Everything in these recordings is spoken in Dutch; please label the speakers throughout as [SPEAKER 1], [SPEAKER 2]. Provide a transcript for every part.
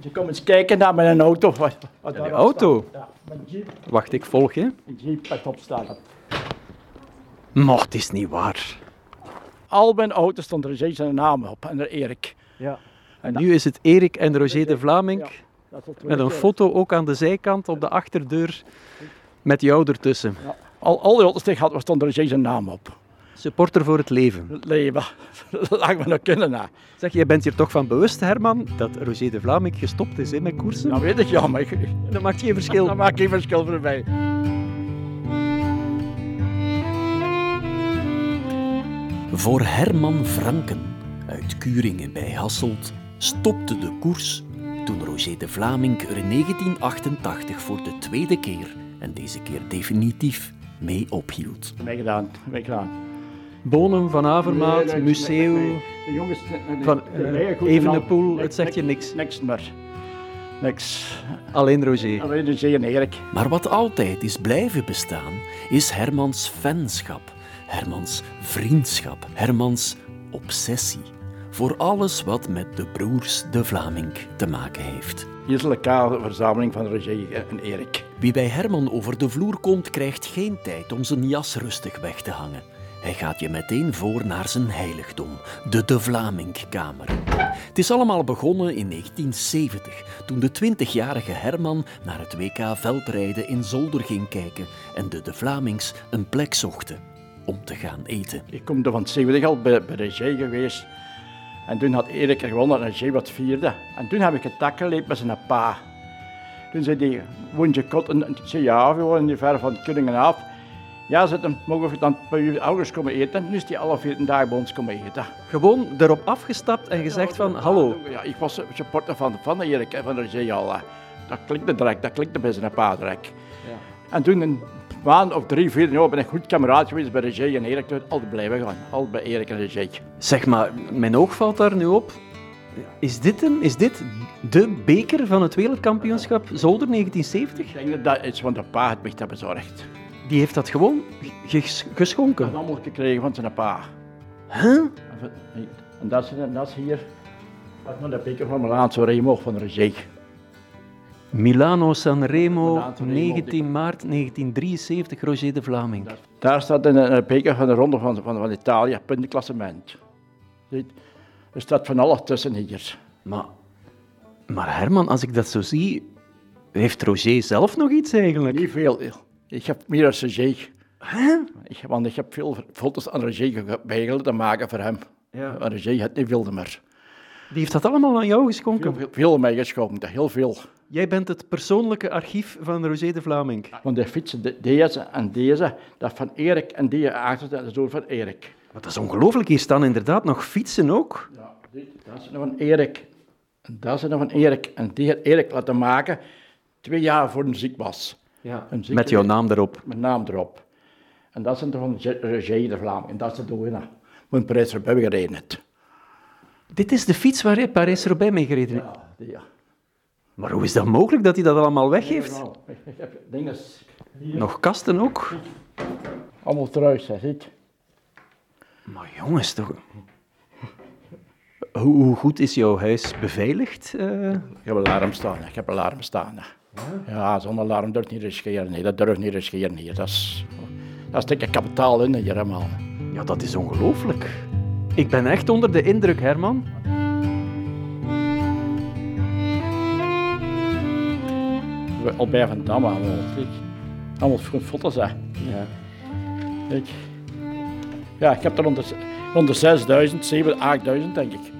[SPEAKER 1] Ze komen eens kijken naar mijn auto. Wat, wat
[SPEAKER 2] Ja, die
[SPEAKER 1] daarop staat.
[SPEAKER 2] auto?
[SPEAKER 1] Ja, mijn jeep.
[SPEAKER 2] Wacht, ik volg je.
[SPEAKER 1] Mijn jeep wat op staat.
[SPEAKER 2] Maar het is niet waar.
[SPEAKER 1] Al mijn auto's stonden er zijn naam op en er Erik.
[SPEAKER 2] Ja. En
[SPEAKER 1] En
[SPEAKER 2] nu is het Erik en Roger de Vlaming.
[SPEAKER 1] Ja, dat is het
[SPEAKER 2] Met een
[SPEAKER 1] tweede.
[SPEAKER 2] foto ook aan de zijkant op de achterdeur. Met jou ertussen.
[SPEAKER 1] Al, al die auto's die ik had, waar stond er zijn naam op.
[SPEAKER 2] Supporter voor het leven.
[SPEAKER 1] Het Leven. Laat me nog kunnen nou. na.
[SPEAKER 2] Zeg, jij bent hier toch van bewust, Herman, dat Roger de Vlaming gestopt is in met koersen?
[SPEAKER 1] Dat Nou weet ik ja, maar ik,
[SPEAKER 2] dat maakt geen verschil.
[SPEAKER 1] dat maakt geen verschil voor mij.
[SPEAKER 3] Voor Herman Franken uit Kuringen bij Hasselt stopte de koers toen Roger de Vlaming er in 1988 voor de tweede keer en deze keer definitief mee ophield.
[SPEAKER 1] Mij gedaan. Mij gedaan.
[SPEAKER 2] Bonen, Van Avermaat,
[SPEAKER 1] Nee, nee,
[SPEAKER 2] Museeuw,
[SPEAKER 1] nee, nee. De jongens... nee, nee,
[SPEAKER 2] Van, eh,
[SPEAKER 1] de leeuwen goed en
[SPEAKER 2] Evenepoel,
[SPEAKER 1] al.
[SPEAKER 2] het zegt je niks.
[SPEAKER 1] Niks meer. Niks.
[SPEAKER 2] Alleen Roger.
[SPEAKER 1] Alleen de zee en Erik.
[SPEAKER 3] Maar wat altijd is blijven bestaan, is Hermans fanschap, Hermans vriendschap, Hermans obsessie voor alles wat met de broers de Vlaming te maken heeft.
[SPEAKER 1] Hier is elkaar de verzameling van Roger en Erik.
[SPEAKER 3] Wie bij Herman over de vloer komt, krijgt geen tijd om zijn jas rustig weg te hangen. Hij gaat je meteen voor naar zijn heiligdom, de De Vlamingkamer. Het is allemaal begonnen in 1970, toen de 20-jarige Herman naar het WK veldrijden in Zolder ging kijken en de De Vlamings een plek zochten om te gaan eten.
[SPEAKER 1] Ik kom er van 70 al bij, bij Roger geweest. En toen had Erik er gewonnen en Roger wat vierde. En toen heb ik het dak geleid met zijn pa. Toen zei die woont je kot? En en toen zei ja, we wonen niet ver van Kuningen af. Ja, zit hem, mogen we dan bij jullie ouders komen eten? Nu is die alle 14 dagen bij ons komen eten.
[SPEAKER 2] Gewoon erop afgestapt en gezegd van, hallo,
[SPEAKER 1] Ja, ik was supporter van, van Erik en van Roger al. hè. Dat klikte direct, dat klikte bij zijn pa direct. En toen een maand of drie, vier jaar ben ik goed kameraad geweest bij Roger en Erik. Toen altijd blijven gaan, altijd bij Erik en Roger.
[SPEAKER 2] zeg maar, mijn oog valt daar nu op. Is dit hem? Is dit de beker van het wereldkampioenschap Zolder 1970?
[SPEAKER 1] Ik denk dat dat is van de pa het heeft bezorgd.
[SPEAKER 2] Die heeft dat gewoon
[SPEAKER 1] Ik
[SPEAKER 2] ges-
[SPEAKER 1] heb het
[SPEAKER 2] geschonken.
[SPEAKER 1] allemaal gekregen van zijn pa.
[SPEAKER 2] Huh?
[SPEAKER 1] En dat is, en dat is hier. Wat van de beker van Milaan, zo reed mocht van Roger.
[SPEAKER 2] Milano Sanremo,
[SPEAKER 1] Milano Sanremo.
[SPEAKER 2] 19 maart 1973, Roger de Vlaming.
[SPEAKER 1] Daar staat een, een beker van de Ronde van, van, van Italië, puntenklassement. Ziet, Er staat van alles tussen hier.
[SPEAKER 2] Maar, maar Herman, als ik dat zo zie, heeft Roger zelf nog iets eigenlijk?
[SPEAKER 1] Niet veel. Ik heb meer als Roger. Ik, heb- want ik heb veel foto's aan Roger ge- bijgelegd te maken voor hem.
[SPEAKER 2] Ja.
[SPEAKER 1] Maar Roger had niet veel meer.
[SPEAKER 2] Die heeft dat allemaal aan jou
[SPEAKER 1] Veel,
[SPEAKER 2] geschonken.
[SPEAKER 1] veel, veel mij geschonken, heel veel.
[SPEAKER 2] Jij bent het persoonlijke archief van Roger de Vlaming.
[SPEAKER 1] Want de fietsen, de- deze en deze, dat van Erik en die achter, dat is ook van Erik.
[SPEAKER 2] Wat dat is ongelooflijk, hier staan inderdaad nog fietsen ook.
[SPEAKER 1] Ja, dit, dat is nog van Erik. En dat is nog van Erik. En die had Erik laten maken twee jaar voor hij ziek was. Een zieke-
[SPEAKER 2] Met jouw naam erop.
[SPEAKER 1] Mijn naam erop. En dat zijn er van Je- Roger de Vlaam. En dat is de Doena. Mijn prijs erbij gereden. heeft.
[SPEAKER 2] Dit is de fiets waar hij Parijs-Roubaix mee gereden heeft.
[SPEAKER 1] Ja, die, ja.
[SPEAKER 2] Maar hoe is dat mogelijk dat hij dat allemaal weggeeft?
[SPEAKER 1] Nou, ik- ik heb dinges.
[SPEAKER 2] Nog kasten ook?
[SPEAKER 1] Allemaal thuis, zeg ik.
[SPEAKER 2] Maar jongens, toch... Hoe, hoe goed is jouw huis beveiligd? eh?
[SPEAKER 1] Ik heb alarm staan. Ik heb alarm staan. hè. Ja, zonder alarm durf ik niet riskeren. Nee, dat durf ik niet riskeren hier. Dat is, dat is dikke kapitaal in hier helemaal.
[SPEAKER 2] Ja, dat is ongelooflijk. Ik ben echt onder de indruk, Herman.
[SPEAKER 1] We- Al bij Van Damme allemaal. Kijk, allemaal gewoon foto's hè.
[SPEAKER 2] Ja.
[SPEAKER 1] Kijk. Ja, ik heb er onder, onder 6000, 7000, 8000 denk ik.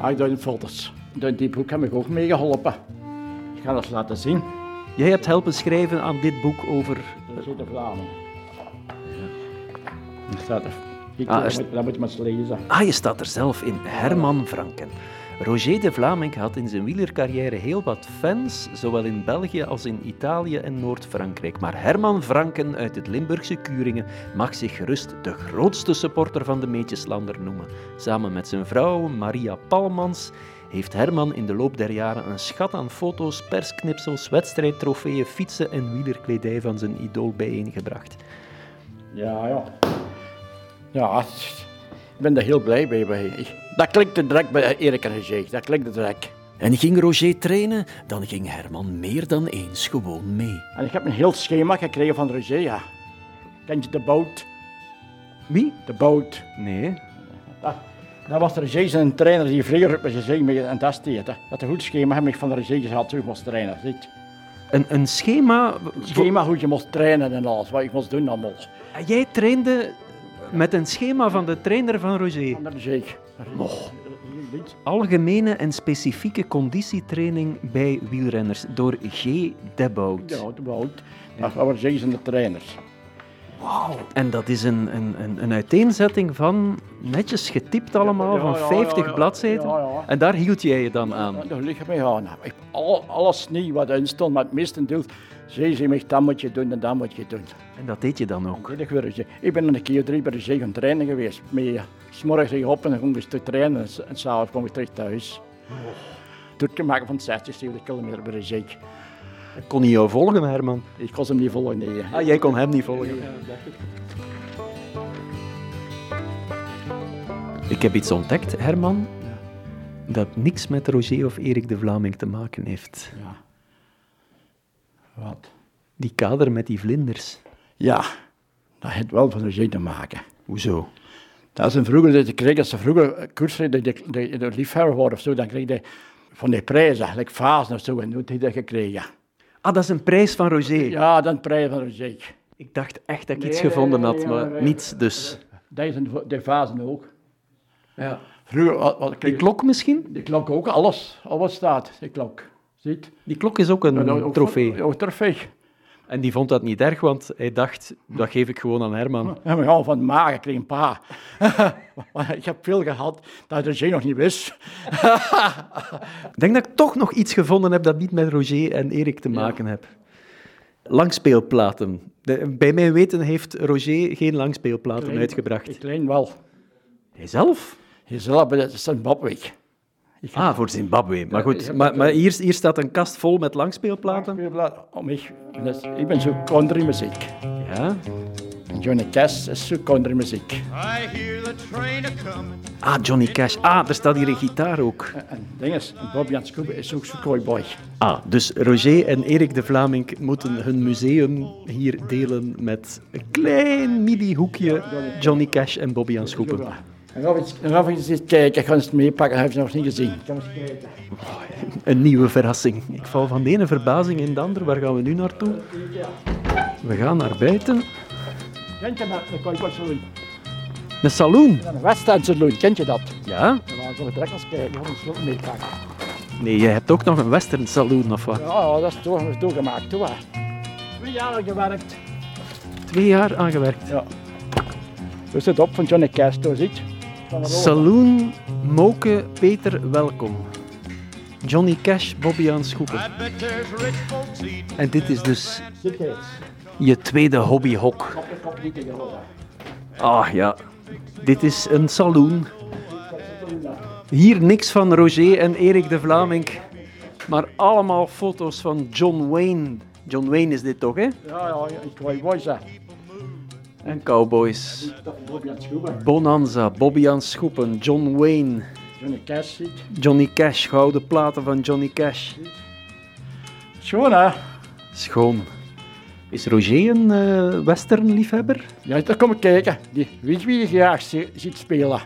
[SPEAKER 1] 8000 foto's. Door die boek heb ik ook meegeholpen. Ik ga dat laten zien.
[SPEAKER 2] Jij hebt helpen schrijven aan dit boek over...
[SPEAKER 1] Dat zit de Vlaming. Daar staat er. Kijk,
[SPEAKER 2] Ah, er
[SPEAKER 1] dat,
[SPEAKER 2] st-
[SPEAKER 1] moet, dat moet je maar eens lezen.
[SPEAKER 2] Ah, je staat er zelf in. Herman Franken. Roger de Vlaming had in zijn wielercarrière heel wat fans, zowel in België als in Italië en Noord-Frankrijk. Maar Herman Franken uit het Limburgse Kuringen mag zich gerust de grootste supporter van de Meetjeslander noemen. Samen met zijn vrouw Maria Palmans heeft Herman in de loop der jaren een schat aan foto's, persknipsels, wedstrijdtrofeeën, fietsen en wielerkledij van zijn idool bijeengebracht.
[SPEAKER 1] Ja, ja. Ja, ik ben daar heel blij mee. bij. Ik- Dat klinkt direct bij Erik en Gezegd. Dat klinkt direct.
[SPEAKER 3] En ging Roger trainen, dan ging Herman meer dan eens gewoon mee.
[SPEAKER 1] En ik heb een heel schema gekregen van Roger, ja. Kent je de boot?
[SPEAKER 2] Wie?
[SPEAKER 1] De boot.
[SPEAKER 2] Nee.
[SPEAKER 1] Dat, dat was Roger zijn trainer die vroeger met Roger mee en dat deed. Hè. Dat een goed schema heb ik van Roger gehad toen ik moest trainen. Ziet.
[SPEAKER 2] Een, een schema...
[SPEAKER 1] Schema hoe je moest trainen en alles, wat ik moest doen allemaal.
[SPEAKER 2] Ah, Jij trainde met een schema van de trainer van Roger.
[SPEAKER 1] Van Roger. Nog.
[SPEAKER 2] Algemene en specifieke conditietraining bij wielrenners door G. Debout.
[SPEAKER 1] Ja, de boot. Dat waren Roger zijn trainers.
[SPEAKER 2] En dat is een, een, een, een uiteenzetting van netjes getipt allemaal,
[SPEAKER 1] Ja,
[SPEAKER 2] van
[SPEAKER 1] ja, ja,
[SPEAKER 2] 50
[SPEAKER 1] ja,
[SPEAKER 2] bladzijden.
[SPEAKER 1] ja, ja.
[SPEAKER 2] En daar hield jij je dan aan.
[SPEAKER 1] Ja, Daar liggen mij Nou, aan. Ik heb al, alles niet wat in stond, maar het meestendeels zei ze mij, dat moet je doen en dat moet je doen.
[SPEAKER 2] En dat deed je dan ook.
[SPEAKER 1] Ik, weer, eens- ik ben een keer of drie bij de zee gaan trainen geweest. Mee, eh, 's morgens ging ik op en dan ging ik te trainen en s- en s'avonds kwam ik terug thuis. Toen ik maken van 60, 70 kilometer bij de zee.
[SPEAKER 2] Ik kon niet jou volgen, Herman.
[SPEAKER 1] Ik kon hem niet volgen, nee.
[SPEAKER 2] Ah, jij kon hem niet volgen. Ik heb iets ontdekt, Herman, dat niks met Roger of Erik de Vlaming te maken heeft.
[SPEAKER 1] Ja. Wat?
[SPEAKER 2] Die kader met die vlinders.
[SPEAKER 1] Ja, dat heeft wel van de zee te maken.
[SPEAKER 2] Hoezo?
[SPEAKER 1] Dat is vroeger dat je kreeg, als ze vroeger eh, koersreden, de, de, de liefhebber worden of zo, dan kreeg je van die prijzen, gelijk fasen of zo, en toen heb je dat gekregen.
[SPEAKER 2] Ah, dat is een prijs van Roger.
[SPEAKER 1] Ja, dan prijzen van de zee.
[SPEAKER 2] Ik dacht echt dat ik iets
[SPEAKER 1] nee,
[SPEAKER 2] gevonden
[SPEAKER 1] nee,
[SPEAKER 2] had,
[SPEAKER 1] nee,
[SPEAKER 2] maar
[SPEAKER 1] nee, nee.
[SPEAKER 2] niets dus.
[SPEAKER 1] Dat is een- de fasen ook.
[SPEAKER 2] Ja.
[SPEAKER 1] Vroeger, wat, wat kreeg
[SPEAKER 2] Die
[SPEAKER 1] je-
[SPEAKER 2] klok misschien?
[SPEAKER 1] Die klok ook, alles. Alles staat, die klok. Ziet?
[SPEAKER 2] Die klok is ook een
[SPEAKER 1] Ook- ook-
[SPEAKER 2] trofee.
[SPEAKER 1] Ook trofee.
[SPEAKER 2] En die vond dat niet erg, want hij dacht, dat geef ik gewoon aan Herman.
[SPEAKER 1] En we gaan van de maag, ik kreeg een pa. Want ik heb veel gehad dat er geen nog niet wist.
[SPEAKER 2] Ik denk dat ik toch nog iets gevonden heb dat niet met Roger en Erik te maken heeft. Langspeelplaten. De- bij mijn weten heeft Roger geen langspeelplaten
[SPEAKER 1] Ik
[SPEAKER 2] uitgebracht.
[SPEAKER 1] klein wel.
[SPEAKER 2] Hijzelf?
[SPEAKER 1] Jezelf, dat is een babweek.
[SPEAKER 2] Ah, voor Zimbabwe. Maar
[SPEAKER 1] ik
[SPEAKER 2] goed,
[SPEAKER 1] heb
[SPEAKER 2] maar,
[SPEAKER 1] dat,
[SPEAKER 2] maar hier, hier staat een kast vol met langspeelplaten.
[SPEAKER 1] Om ik, dat is- ik ben zo country muziek.
[SPEAKER 2] Ja.
[SPEAKER 1] Johnny Cash is zo country muziek.
[SPEAKER 4] I hear the train a coming.
[SPEAKER 2] Ah, Johnny Cash. Ah, er staat hier een gitaar ook.
[SPEAKER 1] En ding is, en Bobby and Scooby is ook zo'n cowboy.
[SPEAKER 2] Ah, dus Roger en Erik de Vlaming moeten hun museum hier delen met een klein midi-hoekje Johnny Cash en Bobby aan Schoepen.
[SPEAKER 1] En dan ga ik eens kijken, ik ga eens meepakken, dat heb je nog niet gezien. Ik ga eens kijken.
[SPEAKER 2] Een nieuwe verrassing. Ik val van de ene verbazing in de andere. Waar gaan we nu naartoe? We gaan naar buiten.
[SPEAKER 1] Kent je dat, een cowboy saloon?
[SPEAKER 2] Een saloon.
[SPEAKER 1] Een Western saloon, kent je dat?
[SPEAKER 2] Ja?
[SPEAKER 1] En dan zullen we direct eens kijken, ik ga eens ook meepakken.
[SPEAKER 2] Nee, je hebt ook nog een western saloon of wat?
[SPEAKER 1] Ja, Oh, dat is door, doorgemaakt, toe hè. Twee jaar al gewerkt.
[SPEAKER 2] Twee jaar aangewerkt.
[SPEAKER 1] Ja. Dus het op van Johnny Cash, door ziet. Van de rode.
[SPEAKER 2] Saloon Moke Peter Welkom. Johnny Cash, Bobby aan Schoepen.
[SPEAKER 4] I bet there's rich folks eating.
[SPEAKER 2] En dit is dus
[SPEAKER 1] Zit eens.
[SPEAKER 2] je tweede hobbyhok.
[SPEAKER 1] Op de kop niet tegen hoor.
[SPEAKER 2] Ah ja, dit is een saloon. Hier niks van Roger en Erik de Vlaming, maar allemaal foto's van John Wayne. John Wayne is dit toch, hè?
[SPEAKER 1] Ja, ja, een cowboy zeg.
[SPEAKER 2] En cowboys.
[SPEAKER 1] Dat is Bobby and Scooby.
[SPEAKER 2] Bonanza, Bobby aan Schoepen, John Wayne,
[SPEAKER 1] Johnny Cash ziet.
[SPEAKER 2] Johnny Cash, gouden platen van Johnny Cash.
[SPEAKER 1] Schoon hè?
[SPEAKER 2] Schoon. Is Roger een eh westernliefhebber?
[SPEAKER 1] Ja, daar kom ik kijken. Die, weet wie je graag zi- ziet spelen?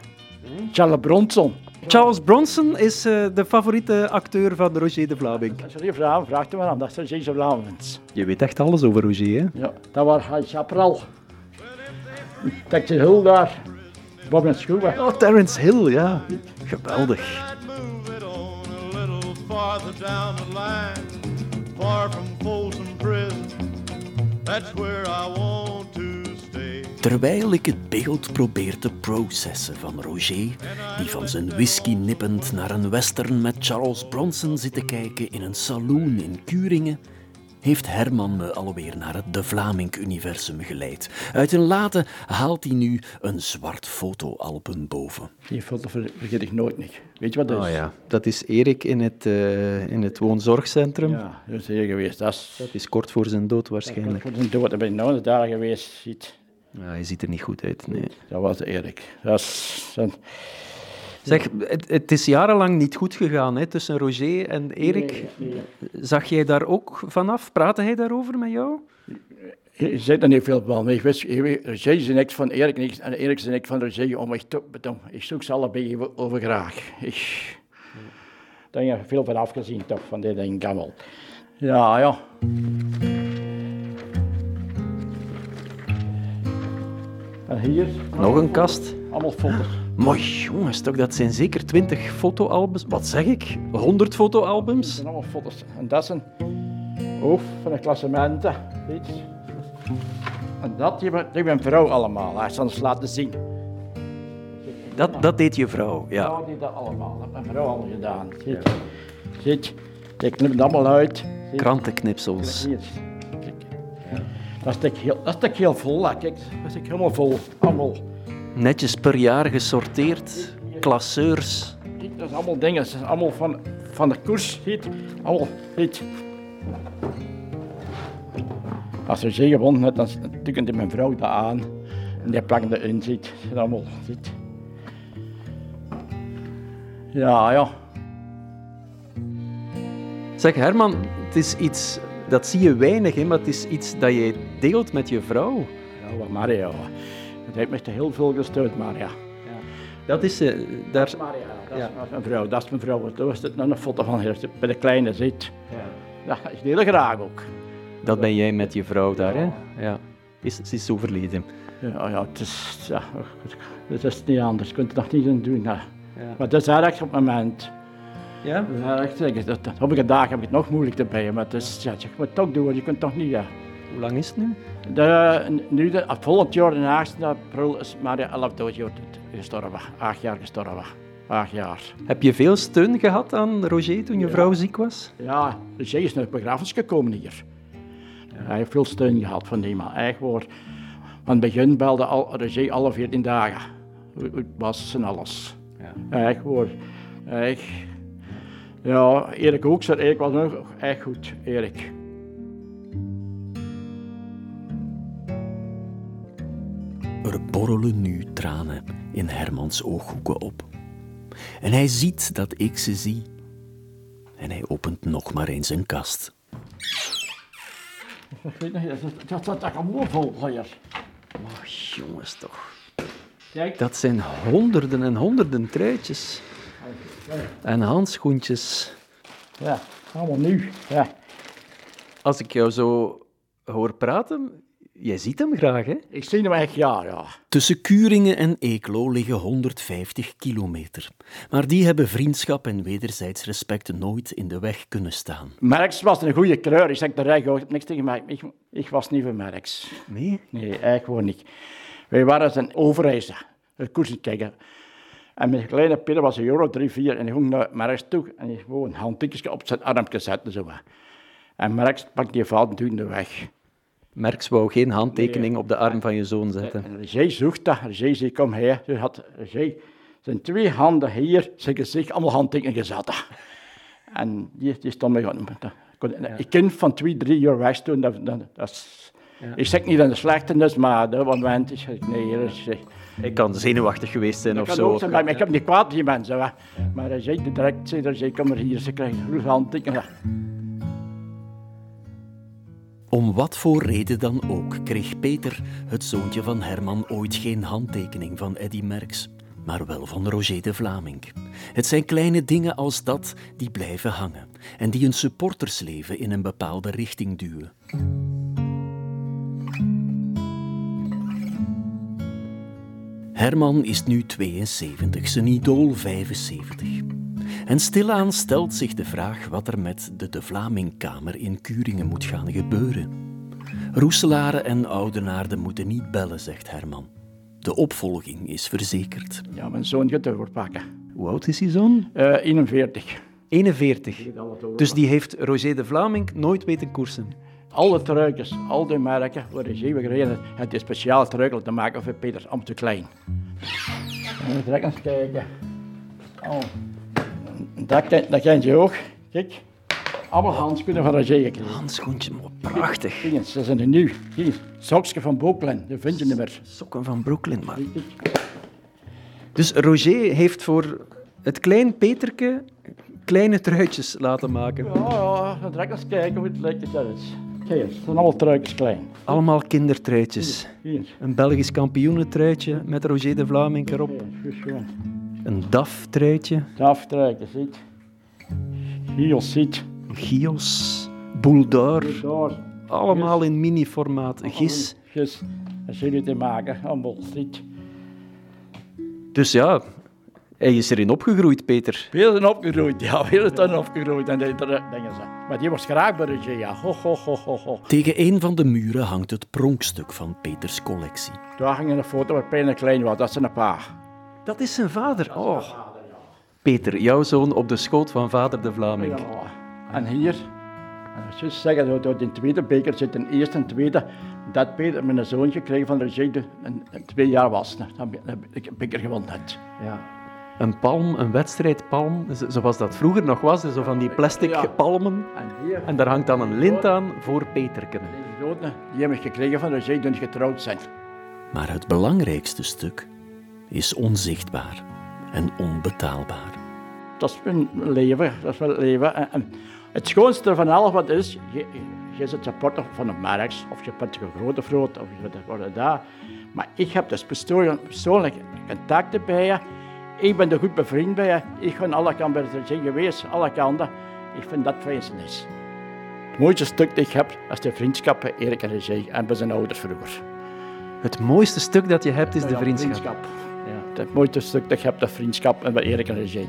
[SPEAKER 1] Charles Bronson.
[SPEAKER 2] Charles Bronson is eh, de favoriete acteur van Roger de Vlaming.
[SPEAKER 1] Als je die vraagt, vraagt hem aan. Dat zijn James Lavens.
[SPEAKER 2] Je weet echt alles over Roger, hè?
[SPEAKER 1] Ja, dat was Hij Chaparral. Texas Hill daar. Bob en Schoeven.
[SPEAKER 2] Oh, Terence Hill, ja. Geweldig.
[SPEAKER 4] I'd move it on a little farther down the line. Far from Folsom Prison. That's where I want to stay.
[SPEAKER 3] Terwijl ik het beeld probeer te processen van Roger, die van zijn whisky nippend naar een western met Charles Bronson zit te kijken in een saloon in Kuringen, heeft Herman me alweer naar het De Vlaming-universum geleid. Uit een late haalt hij nu een zwart fotoalbum boven.
[SPEAKER 1] Die foto ver- vergeet ik nooit niet. Weet je wat dat is?
[SPEAKER 2] Oh ja, dat is Erik in het, eh, in het woonzorgcentrum.
[SPEAKER 1] Ja, dat is hier geweest. Dat is...
[SPEAKER 2] Het is kort voor zijn dood waarschijnlijk.
[SPEAKER 1] Voor zijn dood, daar ben ik nou daar geweest. Ziet.
[SPEAKER 2] Ja, hij ziet er niet goed uit, nee.
[SPEAKER 1] Dat was Erik. Dat is... een-
[SPEAKER 2] Zeg, het, het is jarenlang niet goed gegaan hè, tussen Roger en Erik. Zag jij daar ook vanaf? Praatte hij daarover met jou?
[SPEAKER 1] Je zei dan niet veel van. Ik wist, ik- Roger zei niks van Erik niks, en Erik zei niks van Roger. Om echt op, om, ik zoek ze allebei over- over graag. Ik, daar heb je veel van afgezien, toch, van dit ding gammel. Ja, ja. En hier,
[SPEAKER 2] Nog een kast.
[SPEAKER 1] allemaal foto's.
[SPEAKER 2] Mooi jongens, toch, dat zijn zeker 20 fotoalbums. Wat zeg ik? 100
[SPEAKER 1] Dat
[SPEAKER 2] fotoalbums?
[SPEAKER 1] zijn allemaal foto's. En dat zijn hoofd van de klassementen. Weet je. En dat hebben die mijn vrouw allemaal. Hij zal eens laten zien.
[SPEAKER 2] Dat, dat deed je vrouw, ja.
[SPEAKER 1] vrouw die dat allemaal. Dat heeft mijn vrouw al gedaan. Ziet. Ziet. Ik knip het allemaal uit. Ziet.
[SPEAKER 2] Krantenknipsels.
[SPEAKER 1] Hier. Kijk. Dat stek heel, dat stek heel vol. hè. Kijk, dat stek helemaal vol. Allemaal.
[SPEAKER 2] Netjes per jaar gesorteerd. Klasseurs.
[SPEAKER 1] Kijk, dat is allemaal dingen. Dat is allemaal van, van de koers. Ziet. Allemaal. Ziet. Als ze zee gewonnen heeft, dan tekent mijn vrouw dat aan. En die plakt dat in. Ziet. Dat is Allemaal. Ziet. Ja, ja.
[SPEAKER 2] Zeg Herman, het is iets, dat zie je weinig, hè, maar het is iets dat je deelt met je vrouw.
[SPEAKER 1] Ja, maar Maria. hoor. Het heeft me echt heel veel gesteund, Maria.
[SPEAKER 2] Dat is, eh, daar,
[SPEAKER 1] Maria, dat is
[SPEAKER 2] Ja.
[SPEAKER 1] mijn vrouw. Dat is mijn vrouw. Daar was het nog een foto van hier, bij de kleine zit. Ja. Dat is heel graag ook.
[SPEAKER 2] dat ben jij met je vrouw daar, hè? Ja. Is, ze is overleden.
[SPEAKER 1] Ja, oh ja, het is, ja, het is niet anders. Je kunt er nog niet aan doen. hè.
[SPEAKER 2] Ja.
[SPEAKER 1] Maar dat is erg op het moment.
[SPEAKER 2] Ja?
[SPEAKER 1] Dat is erg, zeg, dat, dat, sommige dagen heb ik het nog moeilijk erbij. Maar het is, ja, je moet het toch doen, je kunt het toch niet. hè.
[SPEAKER 2] Hoe lang is het nu?
[SPEAKER 1] De, nu, de, volgend jaar, de 8 april, is Maria 11 doodjaar gestorven. Acht jaar gestorven. Acht jaar.
[SPEAKER 2] Heb je veel steun gehad aan Roger toen je vrouw ziek was?
[SPEAKER 1] Ja, dus hij is naar het begrafenis gekomen hier. Hij heeft veel steun gehad van die man, echt waar. Van het begin belde al, Roger alle 14 dagen. Hoe hoe het was en alles. Echt waar. Echt. Ja, Erik ook, zei Erik was ook echt goed, Erik.
[SPEAKER 3] Er borrelen nu tranen in Hermans ooghoeken op. En hij ziet dat ik ze zie. En hij opent nog maar eens een kast.
[SPEAKER 1] Ik weet nog niet, dat- dat staat allemaal vol hier.
[SPEAKER 2] Ach, Oh, jongens toch.
[SPEAKER 1] Kijk,
[SPEAKER 2] Dat zijn honderden en honderden truitjes. En handschoentjes.
[SPEAKER 1] ja, allemaal nieuw. Ja.
[SPEAKER 2] Als ik jou zo hoor praten, jij ziet hem graag, hè?
[SPEAKER 1] Ik zie hem echt, ja, ja.
[SPEAKER 3] Tussen Kuringen en Eeklo liggen 150 kilometer. Maar die hebben vriendschap en wederzijds respect nooit in de weg kunnen staan.
[SPEAKER 1] Merks was een goede kleur, ik zeg de rij, ik heb niks tegen mij. Ik, ik was niet van Merks.
[SPEAKER 2] Nee.
[SPEAKER 1] Nee, eigenlijk gewoon niet. Wij waren zijn overreizen, een koersen kijken. En mijn kleine Peter was een euro, drie, vier, en die ging naar Marks toe en die gewoon een handtikje op zijn armpje zetten. Zo. wat. En Marks pakte die vader toen de weg.
[SPEAKER 2] Merks wou geen handtekening op de arm van je zoon zetten.
[SPEAKER 1] En Roger zocht dat, Roger zei, kom hier. Toen had Roger zijn twee handen hier, zijn gezicht, allemaal handtekeningen gezet. En die, die stond mij gewoon... dat- kon- Een kind van twee, drie jaar weg toen, dat, dat, dat is... Ik zeg niet dat het slecht is, maar dat moment is... Nee, hier is...
[SPEAKER 2] Ik kan zenuwachtig geweest zijn
[SPEAKER 1] Ik
[SPEAKER 2] of
[SPEAKER 1] kan
[SPEAKER 2] zo.
[SPEAKER 1] ook zijn, maar ik heb niet kwaad die mensen. Hè. Maar hij zei direct, zei, hij zei, kom maar hier, ze krijgen een groeve handtekening.
[SPEAKER 3] Om wat voor reden dan ook kreeg Peter, het zoontje van Herman, ooit geen handtekening van Eddy Merks, maar wel van Roger de Vlaming. Het zijn kleine dingen als dat die blijven hangen en die een supportersleven in een bepaalde richting duwen. Herman is nu 72, zijn idool 75. En stilaan stelt zich de vraag wat er met de De Vlamingkamer in Kuringen moet gaan gebeuren. Roeselaren en Oudenaarden moeten niet bellen, zegt Herman. De opvolging is verzekerd.
[SPEAKER 1] Ja, mijn zoon gaat overpakken.
[SPEAKER 2] Hoe oud is die zoon?
[SPEAKER 1] Eh 41.
[SPEAKER 2] 41. Dus die heeft Roger de Vlaming nooit weten koersen.
[SPEAKER 1] Alle truikjes, al die merken, waar is eeuwig reden het is speciaal truikel te maken voor Peters om te klein. En we trekken eens kijken. Oh. Dat, ken- dat kent je ook. Kijk, allemaal handschoenen van Roger gekregen.
[SPEAKER 2] Handschoentje, maar prachtig.
[SPEAKER 1] Kijk eens, dat zijn nieuw. Hier, sokje van Boeklen, dat vind je niet meer.
[SPEAKER 2] Sokken van Brooklyn, maar. Dus Roger heeft voor Het klein Peterke kleine truitjes laten maken.
[SPEAKER 1] Ja, Oh, ja, dan ga ik eens kijken hoe het lijkt het daar is. Kijk eens, het zijn allemaal truikjes klein.
[SPEAKER 2] Allemaal kindertruitjes.
[SPEAKER 1] Hier,
[SPEAKER 2] Een Belgisch kampioenentruitje met Roger de Vlaming erop.
[SPEAKER 1] hier, goed schoon.
[SPEAKER 2] Een DAF-truitje.
[SPEAKER 1] Daftruikjes, ziet. Giels, ziet.
[SPEAKER 2] Gios. Bouldoor.
[SPEAKER 1] Door.
[SPEAKER 2] Allemaal in mini-formaat. Gis.
[SPEAKER 1] Gis. Dat jullie te maken, allemaal, ziet.
[SPEAKER 2] Dus ja, hij is erin opgegroeid, Peter.
[SPEAKER 1] Veel zijn opgegroeid, ja, veel zijn opgegroeid. En die dingen ze. Maar die was graag bij de ja. Ho, ho, ho, ho, ho.
[SPEAKER 3] Tegen een van de muren hangt het pronkstuk van Peters collectie.
[SPEAKER 1] Daar hing een foto waar Pijn klein was, dat is een paar.
[SPEAKER 2] Dat is zijn vader. Oh. Peter, jouw zoon op de schoot van vader de Vlaming.
[SPEAKER 1] Ja. En hier, en als je zeggen dat uit de tweede beker zit, een eerste en tweede, dat Peter mijn zoontje kreeg van Roger, de- een, een twee jaar was. hè. Dan heb ik een beker gewonnen. had.
[SPEAKER 2] Een palm, een wedstrijdpalm, zo- zoals dat vroeger nog was. Zo van die plastic
[SPEAKER 1] Ja.
[SPEAKER 2] palmen.
[SPEAKER 1] En hier,
[SPEAKER 2] En daar hangt dan een lint aan voor Peterken.
[SPEAKER 1] deze grote, die heb ik gekregen van Roger toen ze getrouwd zijn.
[SPEAKER 3] Maar het belangrijkste stuk is onzichtbaar en onbetaalbaar.
[SPEAKER 1] Dat is mijn leven, dat is mijn leven. En, en het schoonste van alles wat is, je, je is het supporter van een merks, of je bent een grote vroot, of je bent een daar. Maar ik heb dus persoonlijk, persoonlijk contacten bij je. Ik ben er goed bevriend bij je. Ik ben alle kanten bij de zijn geweest, alle kanten. Ik vind dat wezenlijk. Het mooiste stuk dat ik heb, is de vriendschap bij Erik en Regé en bij zijn ouders vroeger.
[SPEAKER 2] Het mooiste stuk dat je hebt is de
[SPEAKER 1] Ja,
[SPEAKER 2] vriendschap.
[SPEAKER 1] Ja, het mooiste stuk dat ik heb, de vriendschap en bij Erik en Regé.